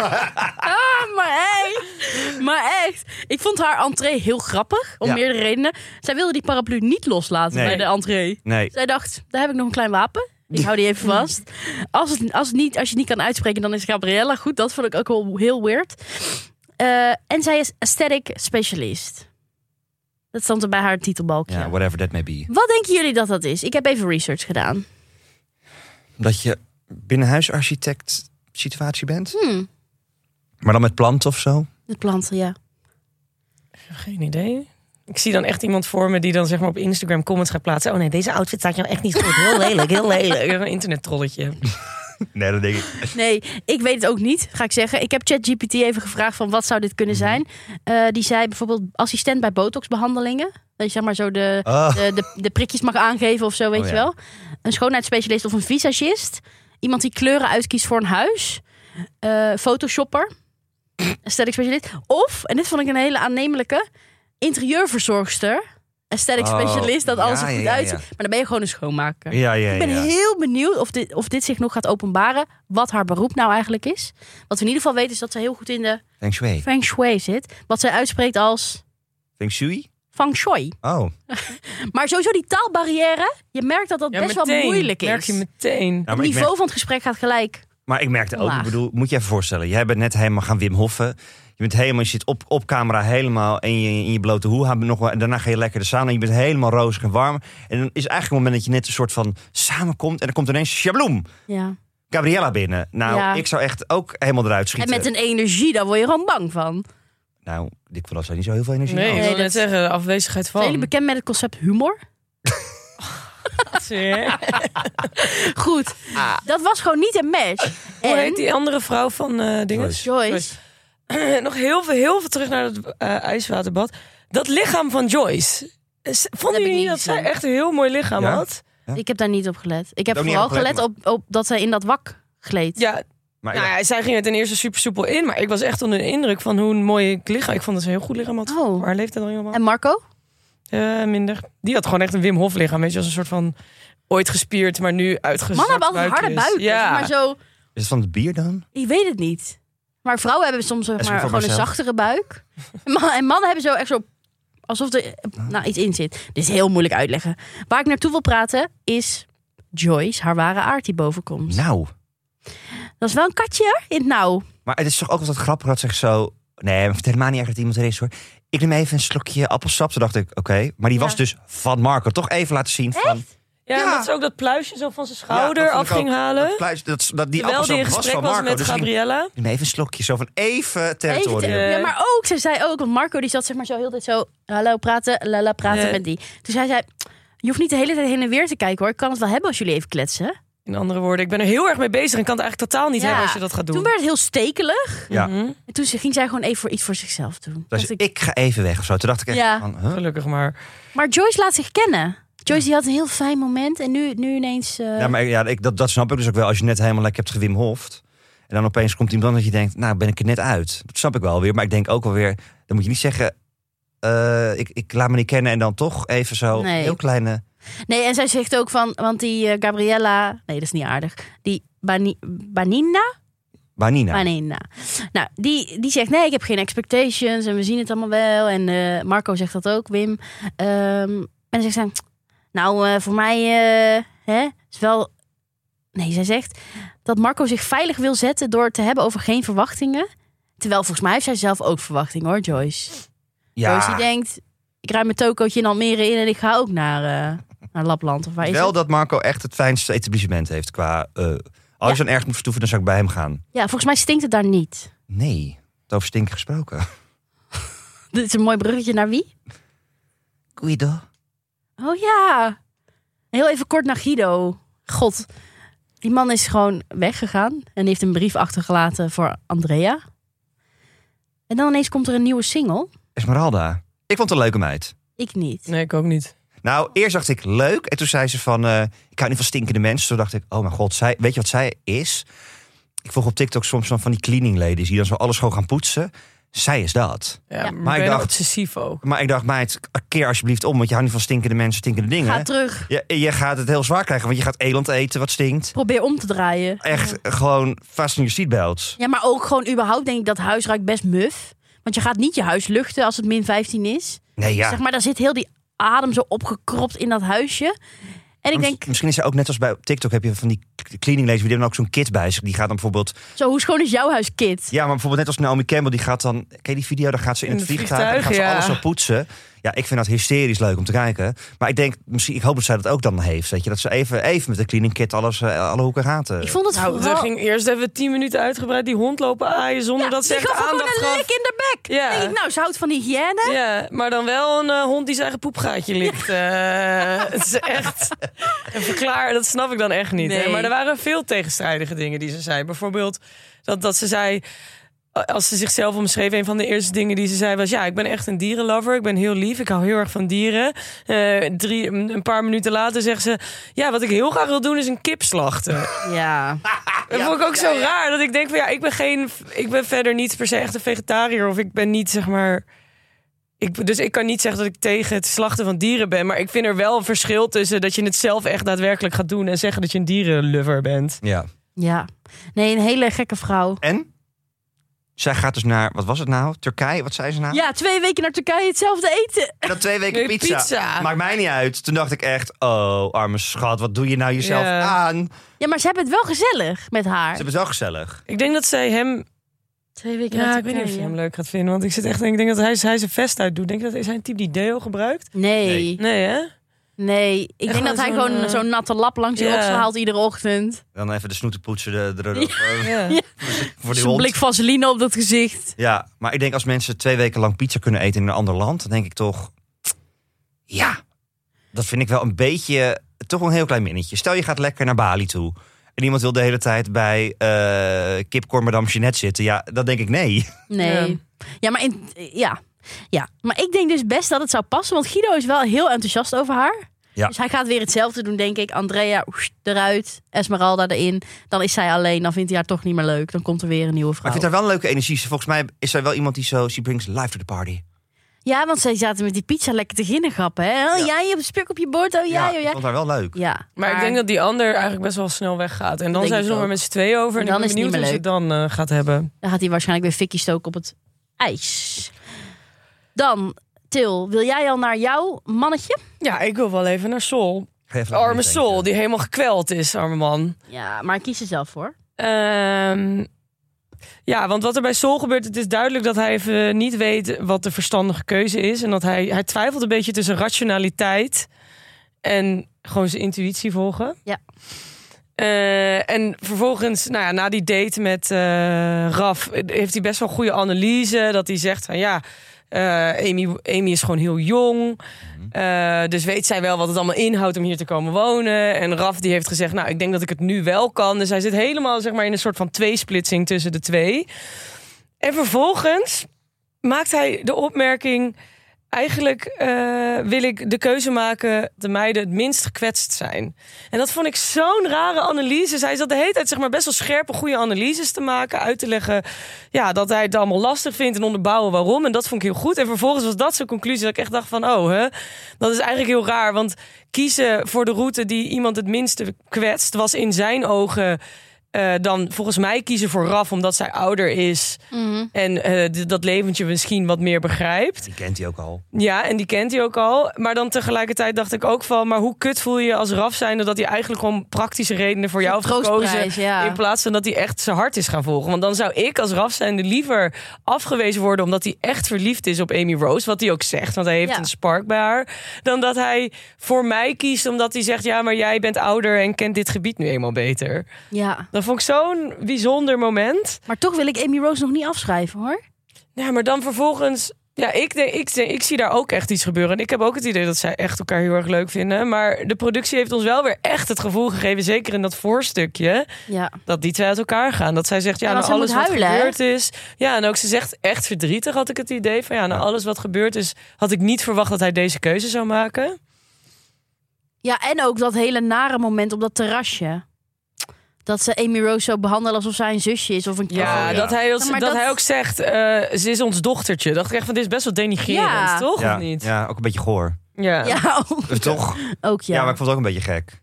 ah, maar echt. Maar echt. Ik vond haar entree heel grappig. Om Ja. meerdere redenen. Zij wilde die paraplu niet loslaten Nee. bij de entree. Nee. Zij dacht, daar heb ik nog een klein wapen. Ik hou die even vast. Als, het, als, het niet, als je het niet kan uitspreken, dan is Gabriella goed. Dat vond ik ook wel heel weird. Eh, en zij is aesthetic specialist. Dat stond er bij haar titelbalkje. Ja, whatever that may be. Wat denken jullie dat dat is? Ik heb even research gedaan. Dat je binnenhuisarchitect situatie bent. Hmm, Maar dan met planten of zo. de planten, ja. Geen idee. Ik zie dan echt iemand voor me die dan zeg maar op Instagram comments gaat plaatsen. Oh nee, deze outfit staat jou echt niet goed. Heel lelijk, heel lelijk. Een internettrolletje. Nee, dat denk ik. Nee, ik weet het ook niet, ga ik zeggen. Ik heb ChatGPT even gevraagd van wat zou dit kunnen Mhm. zijn. Eh, die zei bijvoorbeeld assistent bij botoxbehandelingen. Dat je zeg maar zo de, Oh. de, de, de prikjes mag aangeven of zo, weet Oh, je ja. wel. Een schoonheidsspecialist of een visagist. Iemand die kleuren uitkiest voor een huis. Eh, photoshopper. aesthetic specialist. Of, en dit vond ik een hele aannemelijke, interieurverzorgster. Aesthetic Oh, specialist, dat alles ja, er goed ja, ja, uitziet. ja. Maar dan ben je gewoon een schoonmaker. Ja, ja, Ik ben ja. heel benieuwd of dit, of dit zich nog gaat openbaren. Wat haar beroep nou eigenlijk is. Wat we in ieder geval weten is dat ze heel goed in de Feng Shui. Feng Shui zit. Wat zij uitspreekt als Feng Shui? Feng Shui. Oh. Maar sowieso die taalbarrière. Je merkt dat dat Ja, best wel meteen. moeilijk is. Merk je meteen. Nou, het maar, ik niveau merk, van het gesprek gaat gelijk. maar ik merkte ook, Laag. ik bedoel, moet je even voorstellen. Jij bent net helemaal gaan Wim Hoffen. Je bent helemaal, je zit op, op camera helemaal en je, in je blote hoe. hebben Nog wel, en daarna ga je lekker de sauna en je bent helemaal rozig en warm. En dan is eigenlijk het moment dat je net een soort van samenkomt. En dan komt ineens, sjabloem, Ja. Gabriella binnen. Nou, Ja. ik zou echt ook helemaal eruit En schieten. met een energie, daar word je gewoon bang van. Nou, ik wil dat zij niet zo heel veel energie Nee, ik had. Nee, wil dat- net zeggen, de afwezigheid Zijn jullie van. bekend met het concept humor? Goed. Dat was gewoon niet een match. Ah. Hoe heet En die andere vrouw van eh dingen? Joyce. Joyce. Nog heel veel, heel veel terug naar het eh, ijswaterbad. Dat lichaam van Joyce. S- Vonden ik jullie niet niet dat zij gezien. echt een heel mooi lichaam Ja? had? Ik heb daar niet op gelet. Ik heb Ook niet vooral op gelet, gelet op, op dat zij in dat wak gleed. Ja, Maar nou ja, ja, zij ging er ten eerste super soepel in. Maar ik was echt onder de indruk van hoe een mooi ik lichaam... Ik vond dat ze een heel goed lichaam had. Oh. Maar haar leeftijd al helemaal. En Marco? Eh, minder. Die had gewoon echt een Wim Hof lichaam. Weet je, als een soort van ooit gespierd, maar nu Mannen uitgezakt hebben altijd harde buikjes. buiken. Ja. zeg Maar zo, is het van het bier dan? ik weet het niet. Maar vrouwen hebben soms zeg Is maar, voor gewoon een mezelf. zachtere buik. En man- En mannen hebben zo echt zo... Alsof er eh, nou, iets in zit. Dit is heel moeilijk uitleggen. Waar ik naartoe wil praten is Joyce, haar ware aard die bovenkomt. Nou, Dat is wel een katje hoor, in het nauw. maar het is toch ook altijd grappig dat zeg zo... Nee, maar vertel maar niet echt dat iemand er is hoor. Ik neem even een slokje appelsap. Toen dacht ik, oké. Maar die Ja. was dus van Marco. Toch even laten zien van... Ja, Ja. omdat ze ook dat pluisje zo van zijn Ja, schouder dat vond af ik ook. ging halen. Dat, kluis- dat, dat, die Terwijl die in appelsap was gesprek van was, Marco. met dus ik neem Gabriella. neem even een slokje. Zo van even Even territorium. te- eh, ja, maar ook, ze zei ook, want Marco die zat zeg maar zo heel de tijd zo... Hallo, praten, lala, praten Nee. met die. Toen zei zij, je hoeft niet de hele tijd heen en weer te kijken hoor. Ik kan het wel hebben als jullie even kletsen. In andere woorden, ik ben er heel erg mee bezig en kan het eigenlijk totaal niet Ja. hebben als je dat gaat doen. Toen werd het heel stekelig. Ja. Mhm. En toen ze- ging zij gewoon even voor iets voor zichzelf doen. Dus Dacht ik- ik... ga even weg of zo. Toen dacht ik echt Ja. van... huh? Gelukkig maar. Maar Joyce laat zich kennen. Joyce die had een heel fijn moment en nu, nu ineens... eh, Ja, maar ja, ik, dat, dat snap ik dus ook wel. Als je net helemaal lekker hebt gewimhoft. En dan opeens komt iemand dat je denkt, nou ben ik er net uit. Dat snap ik wel weer. Maar ik denk ook wel weer, dan moet je niet zeggen... eh, ik, ik laat me niet kennen en dan toch even zo Nee. heel kleine... Nee, en zij zegt ook van, want die eh, Gabriella, nee, dat is niet aardig. Die Bani, Banina? Banina. Banina. Nou, die, die zegt nee, ik heb geen expectations en we zien het allemaal wel. En eh, Marco zegt dat ook, Wim. Ehm, en dan zegt zij, nou, eh, voor mij eh, hè, is wel... Nee, zij zegt dat Marco zich veilig wil zetten door het te hebben over geen verwachtingen. Terwijl volgens mij heeft zij zelf ook verwachtingen hoor, Joyce. Joyce die Ja, denkt, ik ruim mijn tokootje in Almere in en ik ga ook naar, eh, naar Lapland. Of waar is wel het? dat Marco echt het fijnste etablissement heeft qua... eh, als je dan ergens moet vertoeven, dan zou ik bij hem gaan. Ja, volgens mij stinkt het daar niet. Nee, het over stinken gesproken. Dit is een mooi bruggetje naar wie? Guido. Oh ja. Heel even kort naar Guido. God, die man is gewoon weggegaan en heeft een brief achtergelaten voor Andrea. En dan ineens komt er een nieuwe single. Esmeralda. Ik vond het een leuke meid. Ik niet. Nee, ik ook niet. Nou, eerst dacht ik leuk. En toen zei ze van, eh, ik hou niet van stinkende mensen. Toen dacht ik, oh mijn god, zij, weet je wat zij is? Ik volg op TikTok soms van, van die cleaning ladies die dan zo alles gewoon gaan poetsen. Zij is dat. Ja, Ja. maar, Maar ik ik dacht... dacht- obsessief ook. Maar ik dacht, meid, keer alsjeblieft om. Want je houdt niet van stinkende mensen, stinkende dingen. Ga terug. je, je gaat het heel zwaar krijgen, want je gaat eland eten wat stinkt. Probeer om te draaien. Echt gewoon fasten your seatbelts. Ja, maar ook gewoon überhaupt denk ik dat huis ruikt best muf. Want je gaat niet je huis luchten als het min 15 is. Nee, ja. Zeg maar, daar zit heel die adem zo opgekropt in dat huisje. En ik Miss- denk, Misschien is ze ook net als bij op TikTok heb je van die cleaning ladies, die hebben dan ook zo'n kit bij zich. Die gaat dan bijvoorbeeld zo, hoe schoon is jouw huis, kid? Ja, maar bijvoorbeeld net als Naomi Campbell, die gaat dan... Ken je die video? Dan gaat ze in, In het het vliegtuig, en dan gaat ze vliegtuig, ja. alles zo poetsen. Ja, ik vind dat hysterisch leuk om te kijken. Maar ik denk, misschien, ik hoop dat zij dat ook dan heeft. Weet je? Dat ze even, even met de cleaning kit alles, eh, alle hoeken gaten. Ik vond het Nou, vooral... er ging eerst even tien minuten uitgebreid die hond lopen aaien zonder Ja, dat ze die echt gaf gewoon aandacht een gaf. lek in de bek. Ja. Denk ik, nou, ze houdt van die hygiëne. Ja, maar dan wel een eh, hond die zijn eigen poepgaatje likt. Eh, het is echt... En verklaar, dat snap ik dan echt niet. Nee. hè. Maar er waren veel tegenstrijdige dingen die ze zei. Bijvoorbeeld dat, dat ze zei... Als ze zichzelf omschreef, een van de eerste dingen die ze zei was... Ja, ik ben echt een dierenlover. Ik ben heel lief. Ik hou heel erg van dieren. Eh, drie, een paar minuten later zegt ze... Ja, wat ik heel graag wil doen is een kip slachten. Ja. Dat vond ik ook zo raar. Dat ik denk van ja, ik ben geen. Ik ben verder niet per se echt een vegetariër. Of ik ben niet zeg maar. Ik, dus ik kan niet zeggen dat ik tegen het slachten van dieren ben. Maar ik vind er wel een verschil tussen dat je het zelf echt daadwerkelijk gaat doen. En zeggen dat je een dierenlover bent. Ja. Ja. Nee, een hele gekke vrouw. En? Zij gaat dus naar, wat was het nou? Turkije? Wat zei ze nou? Ja, twee weken naar Turkije hetzelfde eten. En dan twee weken Nee, pizza. pizza. Maakt mij niet uit. Toen dacht ik echt, oh, arme schat, wat doe je nou jezelf Ja. aan? Ja, maar ze hebben het wel gezellig met haar. Ze hebben het wel gezellig. Ik denk dat zij hem. Twee weken Ja, ik weet niet of je hem leuk gaat vinden. Want ik zit echt. Ik denk dat hij, hij zijn vest uit doet. Denk je dat is hij een type die deo gebruikt? Nee, Nee, hè? nee. Ik denk gewoon dat hij zo'n, gewoon eh, zo'n natte lap langs je ja. oksel haalt iedere ochtend. Dan even de snoeten poetsen de, de, de- Ja. voor die Zo'n hond. blik vaseline op dat gezicht. Ja, maar ik denk als mensen twee weken lang pizza kunnen eten in een ander land, dan denk ik toch, ja, dat vind ik wel een beetje, toch wel een heel klein minnetje. Stel je gaat lekker naar Bali toe en iemand wil de hele tijd bij eh Kipcorn Madame Jeanette zitten. Ja, dan denk ik nee. Nee. Ja, Ja. maar in, ja. Ja, maar ik denk dus best dat het zou passen, want Guido is wel heel enthousiast over haar. Ja. Dus hij gaat weer hetzelfde doen, denk ik. Andrea oest, eruit, Esmeralda erin. Dan is zij alleen, dan vindt hij haar toch niet meer leuk. Dan komt er weer een nieuwe Maar vrouw. ik vind haar wel een leuke energie. Ze- Volgens mij is zij wel iemand die zo, she brings life to the party. Ja, want zij zaten met die pizza lekker te ginnegappen. Hè? Oh, Ja. jij hebt spuk op je bord, oh jij, oh ik jij. vond haar wel leuk. Ja, Maar ik denk dat die ander eigenlijk best wel snel weggaat. En denk dan zijn ik ze nog ook. maar met z'n tweeën over. En Dan dan ik is ben het niet benieuwd hoe ze het meer dan eh, gaat hebben. Dan gaat hij waarschijnlijk weer fikkie stoken op het ijs. Dan, Til, wil jij al naar jouw mannetje? Ja, ik wil wel even naar Sol. Ga even laten Arme meedenken. Sol, die helemaal gekweld is, arme man. Ja, maar kies er zelf voor. Ehm, ja, want wat er bij Sol gebeurt, het is duidelijk dat hij even niet weet wat de verstandige keuze is. En dat hij, hij twijfelt een beetje tussen rationaliteit en gewoon zijn intuïtie volgen. Ja. Eh, en vervolgens, nou ja, na die date met eh, Raf, heeft hij best wel goede analyse. Dat hij zegt van ja, eh, Amy, Amy is gewoon heel jong. Eh, dus weet zij wel wat het allemaal inhoudt om hier te komen wonen. En Raf die heeft gezegd, nou ik denk dat ik het nu wel kan. Dus hij zit helemaal zeg maar, in een soort van tweesplitsing tussen de twee. En vervolgens maakt hij de opmerking... eigenlijk eh, wil ik de keuze maken dat de meiden het minst gekwetst zijn. En dat vond ik zo'n rare analyse. Zij zat de hele tijd zeg maar, best wel scherpe, goede analyses te maken. Uit te leggen ja, dat hij het allemaal lastig vindt en onderbouwen waarom. En dat vond ik heel goed. En vervolgens was dat zijn conclusie dat ik echt dacht van... oh, hè, dat is eigenlijk heel raar. Want kiezen voor de route die iemand het minste kwetst... was in zijn ogen... eh, dan volgens mij kiezen voor Raf omdat zij ouder is en eh, d- dat leventje misschien wat meer begrijpt. Die kent hij ook al. Ja, en die kent hij ook al. Maar dan tegelijkertijd dacht ik ook van... maar hoe kut voel je je als Raf zijnde... dat hij eigenlijk gewoon praktische redenen voor jou heeft troostprijs, gekozen... ja. in plaats van dat hij echt zijn hart is gaan volgen. Want dan zou ik als Raf zijnde liever afgewezen worden... omdat hij echt verliefd is op Amy Rose. Wat hij ook zegt, want hij heeft Ja. een spark bij haar. Dan dat hij voor mij kiest omdat hij zegt... ja, maar jij bent ouder en kent dit gebied nu eenmaal beter. Ja. Dat vond ik zo'n bijzonder moment. Maar toch wil ik Amy Rose nog niet afschrijven hoor. Ja, maar dan vervolgens. Ja, ik, denk, ik, denk- ik zie daar ook echt iets gebeuren. En ik heb ook het idee dat zij echt elkaar heel erg leuk vinden. Maar de productie heeft ons wel weer echt het gevoel gegeven, zeker in dat voorstukje, Ja. dat die twee uit elkaar gaan. Dat zij zegt, ja, Ja, na want zij alles moet wat huilen, hè? gebeurd is. Ja, en ook ze zegt echt verdrietig, had ik het idee van, ja, na alles wat gebeurd is, had ik niet verwacht dat hij deze keuze zou maken. Ja, en ook dat hele nare moment op dat terrasje. Dat ze Amy Rose zo behandelen alsof zij een zusje is of een Oh, Ja, ja. Dat, hij, ons- Ja, maar dat, dat- hij ook zegt, eh, ze is ons dochtertje. Dacht ik echt van, dit is best wel denigrerend, Ja. toch? ja, Of niet? ja, ook een beetje goor. Ja. Ja, ook, Toch? Ja. ook ja. Ja, maar ik vond het ook een beetje gek.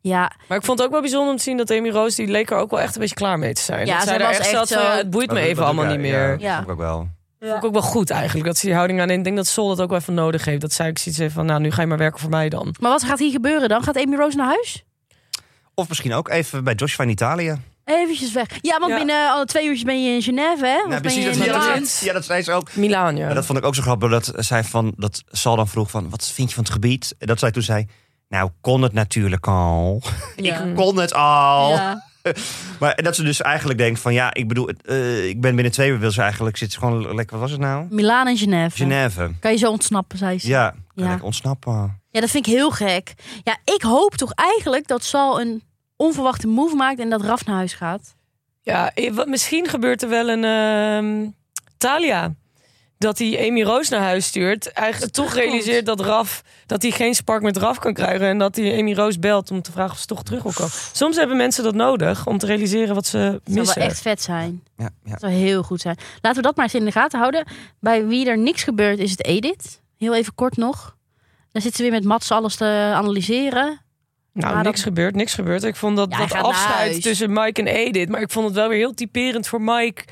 ja. Maar ik vond het ook wel bijzonder om te zien dat Amy Roos... die leek er ook wel echt een beetje klaar mee te zijn. Ja, dat zij zij daar was echt echt zat van, zo- ja, het boeit me even allemaal niet meer. Ja. Ja, vond ik ook wel. Vond ik ook wel goed eigenlijk, dat ze die houding aan... en ik denk dat Sol dat ook wel even nodig heeft. Dat zij ook zoiets heeft van, nou, nu ga je maar werken voor mij dan. Maar wat gaat hier gebeuren dan? Gaat Amy Rose naar huis? Of misschien ook even bij Joshua in Oh, Italië. Nou, Eventjes weg. Ja, want Ja. binnen alle twee uurtjes ben je in Genève, hè? Of ben je dat, in Milaan? is- ja, Milaan? dat, ja, dat zei ze ook. Milaan, ja. Maar dat vond ik ook zo grappig, dat zij van, dat Sal dan vroeg van, wat vind je van het gebied? En dat zij toen zei, nou, kon het natuurlijk al. Ja. Kon het al. Ja. Maar en dat ze dus eigenlijk denkt van, ja, ik bedoel, het, eh, ik ben binnen twee uur, wil ze eigenlijk, zit ze gewoon lekker, wat was het nou? Milaan en Genève. Genève. Kan je zo ontsnappen, zei ze. Ja, kan Ja. lekker ontsnappen. Ja, dat vind ik heel gek. Ja, ik hoop toch eigenlijk dat Sal een onverwachte move maakt en dat Raf naar huis gaat. Ja, eh, wat- misschien gebeurt er wel een ehm, Thalia. Dat hij Amy Roos naar huis stuurt. Eigenlijk toch terugkomt. realiseert dat Raf dat hij geen spark met Raf kan krijgen. En dat hij Amy Roos belt om te vragen of ze toch terug wil komen. Soms hebben mensen dat nodig om te realiseren wat ze Dat zou missen. wel echt vet zijn. Ja, ja. Dat zou heel goed zijn. Laten we dat maar eens in de gaten houden. Bij wie er niks gebeurt is het Edith. Heel even kort nog. Daar zitten ze weer met Mats alles te analyseren. Nou, Maar niks gebeurt, niks gebeurt. Ik vond dat, Ja, hij dat gaat naar afscheid huis. tussen Mike en Edith. Maar ik vond het wel weer heel typerend voor Mike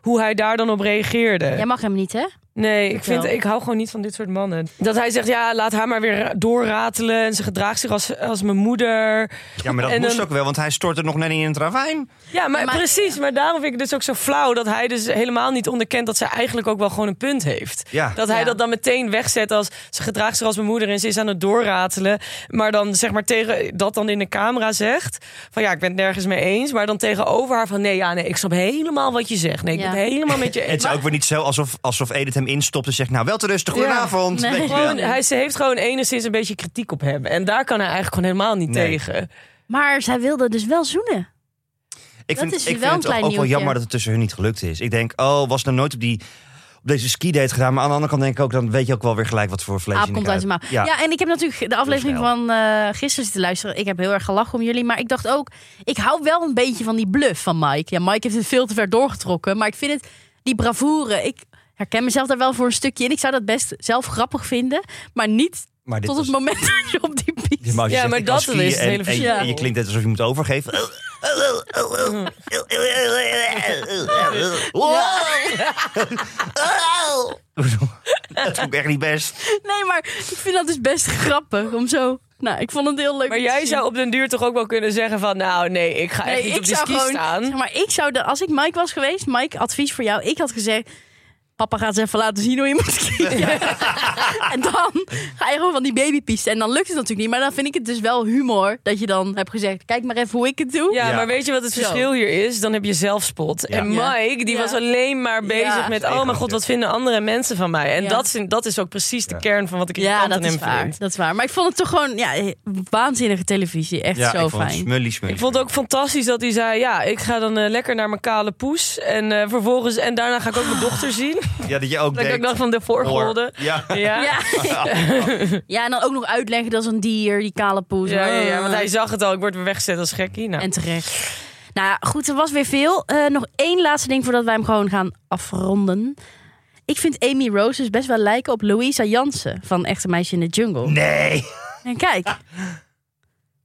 hoe hij daar dan op reageerde. Eh. Jij mag hem niet, hè? nee, ik, Vertel. vind, ik hou gewoon niet van dit soort mannen. Dat hij zegt, ja, laat haar maar weer doorratelen. En ze gedraagt zich als, als mijn moeder. ja, maar dat En moest dan- ook wel, want hij stort het nog net in het ravijn. Ja, maar, Maar- precies. Maar daarom vind ik het dus ook zo flauw... dat hij dus helemaal niet onderkent dat zij eigenlijk ook wel gewoon een punt heeft. Ja. Dat hij Ja. dat dan meteen wegzet als ze gedraagt zich als mijn moeder en ze is aan het doorratelen. Maar dan zeg maar tegen dat dan in de camera zegt van ja, ik ben het nergens mee eens. Maar dan tegenover haar van nee, ja, nee, ik snap helemaal wat je zegt. Nee, ik Ja. ben het helemaal met je En het eens. is ook weer niet zo alsof, alsof Edith hem instopt en zegt, nou, wel te rustig, Ja. goedenavond. Nee. Weet je wel. Gewoon, hij, ze heeft gewoon enigszins een beetje kritiek op hem. En daar kan hij eigenlijk gewoon helemaal niet Nee. tegen. Maar zij wilde dus wel zoenen. Ik Dat vind, is ik wel vind een het klein ook wel nieuwtje. jammer dat het tussen hun niet gelukt is. Ik denk, oh, was nou nooit op, die, op deze ski-date gedaan. Maar aan de andere kant denk ik ook, dan weet je ook wel weer gelijk wat voor vlees Aap in de Ah, komt uit kuip. zijn mouw. Ja. Ja. en ik heb natuurlijk de aflevering snel. van eh, gisteren zitten luisteren. Ik heb heel erg gelachen om jullie. Maar ik dacht ook, ik hou wel een beetje van die bluff van Mike. Ja, Mike heeft het veel te ver doorgetrokken. Maar ik vind het, die bravoure, ik herken mezelf daar wel voor een stukje in. Ik zou dat best zelf grappig vinden. Maar niet Maar dit tot was- het moment dat je op die Ja, piet... maar, als je Ja, zegt, maar ik kan dat skiën dus is het en- hele en- verschil. en je klinkt net alsof je moet overgeven. Dat vond ik echt niet best. Nee, maar ik vind dat dus best grappig om zo... Nou, ik vond het heel leuk. Maar om te jij zien. zou op den duur toch ook wel kunnen zeggen van... nou nee, ik ga echt Nee, niet op ik die zou ski gewoon. staan. Zeg maar ik zou de, als ik Mike was geweest, Mike, advies voor jou. Ik had gezegd. Papa gaat ze even laten zien hoe je moet skiën. en dan ga je gewoon van die babypiste. En dan lukt het natuurlijk niet. Maar dan vind ik het dus wel humor dat je dan hebt gezegd... kijk maar even hoe ik het doe. Ja, Ja. maar weet je wat het Zo. verschil hier is? Dan heb je zelfspot. En Ja. Mike, die Ja. was alleen maar bezig Ja. met... oh mijn god, wat vinden andere mensen van mij? En Ja. dat, is, dat is ook precies de Ja. kern van wat ik Ja, irritant dat aan is hem waar. vind. Dat is waar. Maar ik vond het toch gewoon ja, waanzinnige televisie. Echt Ja, zo ik vond het fijn. smully, smully. Ik vond het ook fantastisch dat hij zei... ja, ik ga dan eh, lekker naar mijn kale poes. En, eh, vervolgens, en daarna ga ik ook mijn dochter zien. Ja, dat je ook Dat ik denkt... ook nog van de voorgolden. hoor. Ja. Ja. Ja. ja, en dan ook nog uitleggen dat is een dier, die kale poes. Ja, ja, ja, want hij zag het al. Ik word weer weggezet als gekkie. Nou. En terecht. Nou ja, goed, er was weer veel. Eh, nog één laatste ding voordat wij hem gewoon gaan afronden. Ik vind Amy Rose dus best wel lijken op Louisa Jansen van Echte Meisje in de Jungle. Nee. En kijk.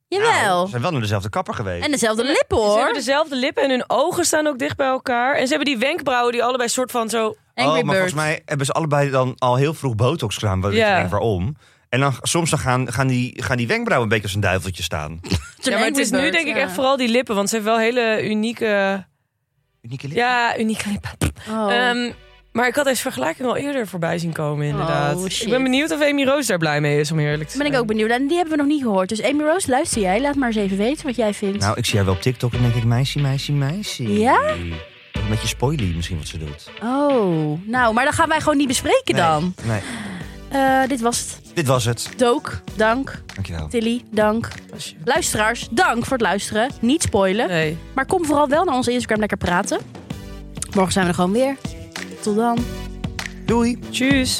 Nou, Jawel. Ze zijn wel naar dezelfde kapper geweest. En dezelfde lippen Ze hoor. hebben dezelfde lippen en hun ogen staan ook dicht bij elkaar. En ze hebben die wenkbrauwen die allebei soort van zo... oh, Angry maar Bird. volgens mij hebben ze allebei dan al heel vroeg botox gedaan. Wat Ja. ik denk waarom. En dan, soms dan gaan, gaan, die, gaan die wenkbrauwen een beetje als een duiveltje staan. Toen Ja, maar het Angry is nu Bird, denk ik ja. echt vooral die lippen. Want ze heeft wel hele unieke... Unieke lippen. Ja, unieke lippen. Oh. Ehm, maar ik had deze vergelijking al eerder voorbij zien komen inderdaad. Oh, shit. ik ben benieuwd of Amy Roos daar blij mee is, om eerlijk te ben zijn. ik ook benieuwd. En die hebben we nog niet gehoord. Dus Amy Rose, luister jij. Laat maar eens even weten wat jij vindt. Nou, ik zie haar wel op TikTok en denk ik, meisje, meisje, meisje. Ja? Een beetje spoilie misschien wat ze doet. Oh, nou, maar dan gaan wij gewoon niet bespreken dan. Nee, Eh, dit was het. nee. dit was het. Dook, dank. Dankjewel. Tilly, dank. Alsjeblieft. Luisteraars, dank voor het luisteren. Niet spoilen. Nee. Maar kom vooral wel naar onze Instagram lekker praten. Morgen zijn we er gewoon weer. Tot dan. Doei. Tjus.